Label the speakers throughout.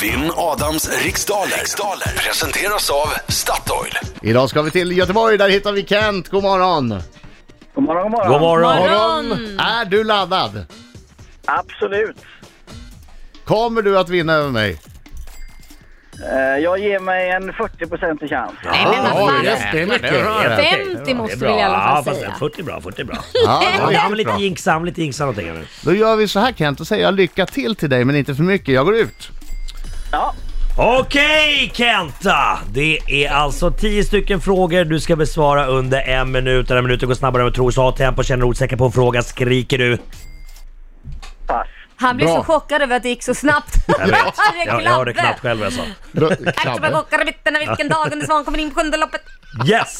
Speaker 1: Vinn Adams riksdaler. riksdaler presenteras av Statoil.
Speaker 2: Idag ska vi till Göteborg, där hittar vi Kent. God morgon!
Speaker 3: God morgon, god morgon.
Speaker 4: God morgon!
Speaker 2: Är du laddad?
Speaker 3: Absolut.
Speaker 2: Kommer du att vinna över mig?
Speaker 3: Eh, Jag ger mig en 40 chans.
Speaker 5: Nej men vad
Speaker 2: Oj,
Speaker 5: fan.
Speaker 2: det är mycket.
Speaker 4: Ja, okej, det är
Speaker 5: 50 måste
Speaker 4: bra.
Speaker 5: vi i alla fall
Speaker 4: ja, fast
Speaker 5: säga.
Speaker 4: 40 bra, 40 bra.
Speaker 2: Ja, det var
Speaker 4: Ja, men
Speaker 2: jävligt
Speaker 4: lite
Speaker 2: bra.
Speaker 4: jinxa, han lite jinxa någonting här nu.
Speaker 2: Då gör vi så här Kent, då säger jag lycka till till dig men inte för mycket. Jag går ut.
Speaker 3: Ja,
Speaker 4: Okej Kenta! Det är alltså 10 stycken frågor du ska besvara under en minut. Den här minuten går snabbare än du tror. Så ha tempo, känner du osäker på en fråga skriker du.
Speaker 3: pass.
Speaker 5: Han blev
Speaker 2: Bra.
Speaker 5: så chockad över att det gick så snabbt.
Speaker 4: Jag vet.
Speaker 5: Han är
Speaker 4: Jag, jag hörde
Speaker 5: glad.
Speaker 4: knappt själv vad jag sa.
Speaker 2: Då-
Speaker 5: Ärtsoppa
Speaker 2: Knabbe.
Speaker 5: kockar i mitten av vilken dag under svan kommer in på sjunde loppet.
Speaker 4: Yes!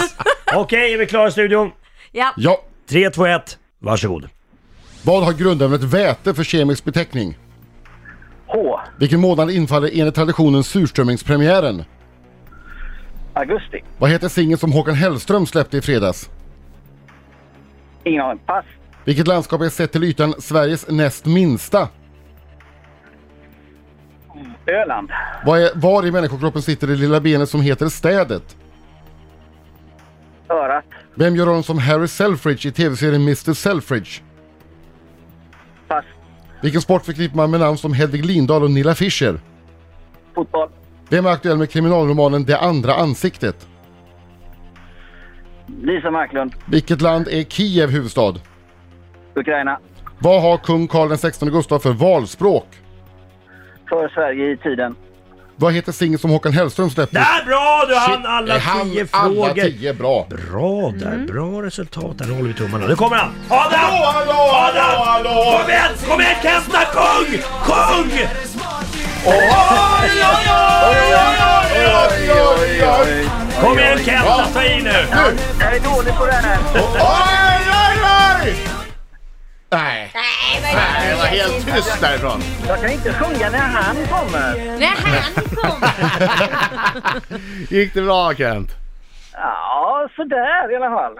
Speaker 4: Okej, är vi klara i studion?
Speaker 5: Ja.
Speaker 6: Ja.
Speaker 4: 3, 2, 1. Varsågod.
Speaker 6: Vad har grundämnet väte för kemisk beteckning?
Speaker 3: H.
Speaker 6: Vilken månad infaller enligt traditionen surströmmingspremiären?
Speaker 3: Augusti.
Speaker 6: Vad heter singeln som Håkan Hellström släppte i fredags?
Speaker 3: Ingen aning. Pass.
Speaker 6: Vilket landskap är sett till ytan Sveriges näst minsta?
Speaker 3: Öland.
Speaker 6: Vad är, var i människokroppen sitter det lilla benet som heter städet?
Speaker 3: Örat.
Speaker 6: Vem gör rollen som Harry Selfridge i tv-serien Mr Selfridge?
Speaker 3: Pass.
Speaker 6: Vilken sport förknippar man med namn som Hedvig Lindahl och Nilla Fischer?
Speaker 3: Fotboll.
Speaker 6: Vem är aktuell med kriminalromanen Det andra ansiktet?
Speaker 3: Lisa Marklund.
Speaker 6: Vilket land är Kiev huvudstad?
Speaker 3: Ukraina.
Speaker 6: Vad har kung Carl XVI Gustaf för valspråk?
Speaker 3: För Sverige i tiden.
Speaker 6: Vad heter singeln som Håkan Hellström släppte?
Speaker 4: Där, bra! Du hann alla
Speaker 6: Shit, han
Speaker 4: 10
Speaker 6: Alla
Speaker 4: frågor.
Speaker 6: tio, bra!
Speaker 4: Bra där, bra resultat. Där håller vi tummarna. Nu kommer han! Adam! Adam! Kom igen! Kom igen Kenta! Kung! Kung!
Speaker 6: Oj, oj, oj!
Speaker 4: Kom igen Kenta, ta i nu!
Speaker 3: Jag är dålig på det här.
Speaker 2: Oj, oj, oj!
Speaker 6: Nej,
Speaker 5: Nej, men
Speaker 2: Nej, det var helt tyst därifrån.
Speaker 3: Jag kan inte sjunga när han kommer.
Speaker 5: när han kom.
Speaker 2: Gick det bra Kent?
Speaker 3: Ja, sådär i alla fall.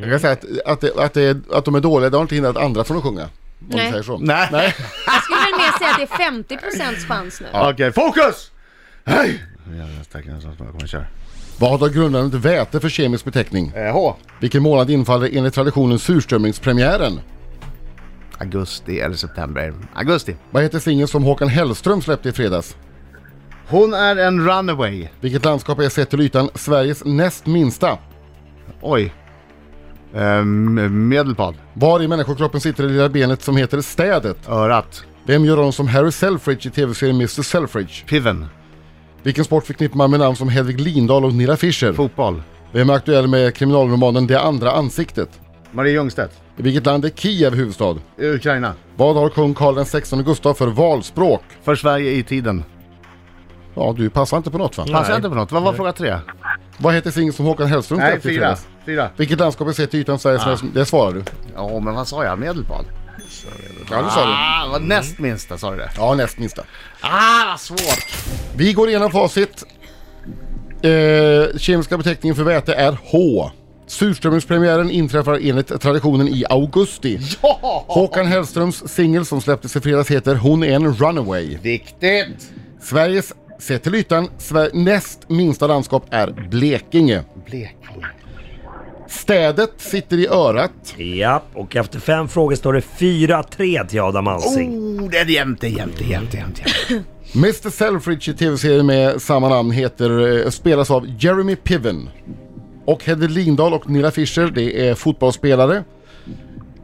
Speaker 6: jag kan säga att, att, det, att, det, att de är dåliga, det har inte hindrat andra från att sjunga. Om du
Speaker 5: Nej.
Speaker 6: säger så.
Speaker 2: Nej.
Speaker 5: Jag skulle väl mer säga att det är 50% chans nu.
Speaker 2: Okej, fokus! Hej! Jävlar, stackaren som jag kommer köra.
Speaker 6: Vad har grundämnet väte för kemisk beteckning?
Speaker 2: Eh, H.
Speaker 6: Vilken månad infaller enligt traditionen surströmmingspremiären?
Speaker 2: Augusti eller september. Augusti.
Speaker 6: Vad heter singeln som Håkan Hellström släppte i fredags?
Speaker 2: Hon är en runaway.
Speaker 6: Vilket landskap är sett till ytan Sveriges näst minsta?
Speaker 2: Oj. Ehm, medelpad.
Speaker 6: Var i människokroppen sitter det lilla benet som heter städet?
Speaker 2: Örat.
Speaker 6: Vem gör honom som Harry Selfridge i tv-serien Mr Selfridge?
Speaker 2: Piven.
Speaker 6: Vilken sport förknippar man med namn som Hedvig Lindahl och Nilla Fischer?
Speaker 2: Fotboll.
Speaker 6: Vem är aktuell med kriminalromanen Det andra ansiktet?
Speaker 2: Marie Ljungstedt.
Speaker 6: I vilket land är Kiev huvudstad?
Speaker 2: Ukraina.
Speaker 6: Vad har kung Carl XVI Gustaf för valspråk?
Speaker 2: För Sverige i tiden.
Speaker 6: Ja, du passar inte på något va?
Speaker 2: Passar jag inte på något? Vad var fråga tre?
Speaker 6: Vad heter singeln som Håkan Hellström
Speaker 2: Nej,
Speaker 6: släppte i
Speaker 2: fyra. Ah.
Speaker 6: fredags?
Speaker 2: Fyra.
Speaker 6: Vilket landskap är sett i ytan Sveriges näst... Det svarar du.
Speaker 2: Ja, men vad sa jag? Medelpad?
Speaker 6: Ja, det sa du.
Speaker 2: Ah, vad näst minsta sa du det?
Speaker 6: Ja, näst minsta.
Speaker 2: Ah, vad svårt!
Speaker 6: Vi går igenom facit. Eh, kemiska beteckningen för väte är H. Surströmmingspremiären inträffar enligt traditionen i augusti. Håkan Hellströms singel som släpptes i fredags heter Hon är en runaway.
Speaker 2: Viktigt!
Speaker 6: Sveriges, sett till ytan, Sver- näst minsta landskap är Blekinge.
Speaker 2: Blekinge.
Speaker 6: Städet sitter i örat.
Speaker 4: Ja, och efter fem frågor står det 4-3 till Adam Alsing.
Speaker 2: Oh, det är jämnt, det är jämnt, det är jämnt, det är jämnt. det är jämnt.
Speaker 6: Mr Selfridge i tv-serien med samma namn heter, eh, spelas av Jeremy Piven. Och Hedde Lindahl och Nilla Fischer, det är fotbollsspelare.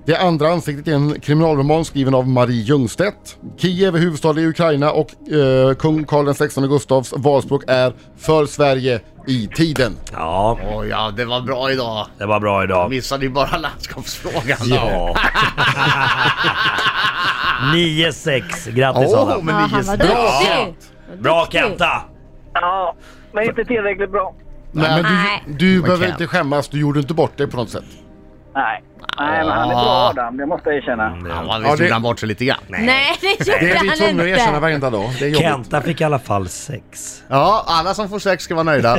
Speaker 6: Det andra ansiktet är en kriminalroman skriven av Marie Ljungstedt. Kiev är huvudstad i Ukraina och eh, kung Carl XVI Gustavs valspråk är För Sverige i tiden.
Speaker 4: Ja,
Speaker 2: Oj, ja, det var bra idag.
Speaker 4: det var bra idag.
Speaker 2: Missade ju bara landskapsfrågan. då.
Speaker 4: Ja. 9-6. Grattis
Speaker 2: Åh,
Speaker 4: Adam.
Speaker 2: men
Speaker 5: Ja, han
Speaker 2: nio
Speaker 5: var
Speaker 2: snabbt.
Speaker 5: duktig.
Speaker 4: Bra Kenta!
Speaker 3: Ja, men inte tillräckligt bra.
Speaker 6: Nej, men
Speaker 5: Nej.
Speaker 6: du, du behöver
Speaker 2: kan.
Speaker 6: inte skämmas, du gjorde inte bort dig på något sätt.
Speaker 3: Nej. Nej, men han är bra Adam. Det måste jag erkänna.
Speaker 2: Ja, man visst
Speaker 6: det-
Speaker 2: gjorde han bort sig lite grann.
Speaker 5: Nej, det gjorde han inte.
Speaker 6: varenda dag. Det är
Speaker 4: Kenta fick i alla fall 6.
Speaker 2: Ja, alla som får sex ska vara nöjda.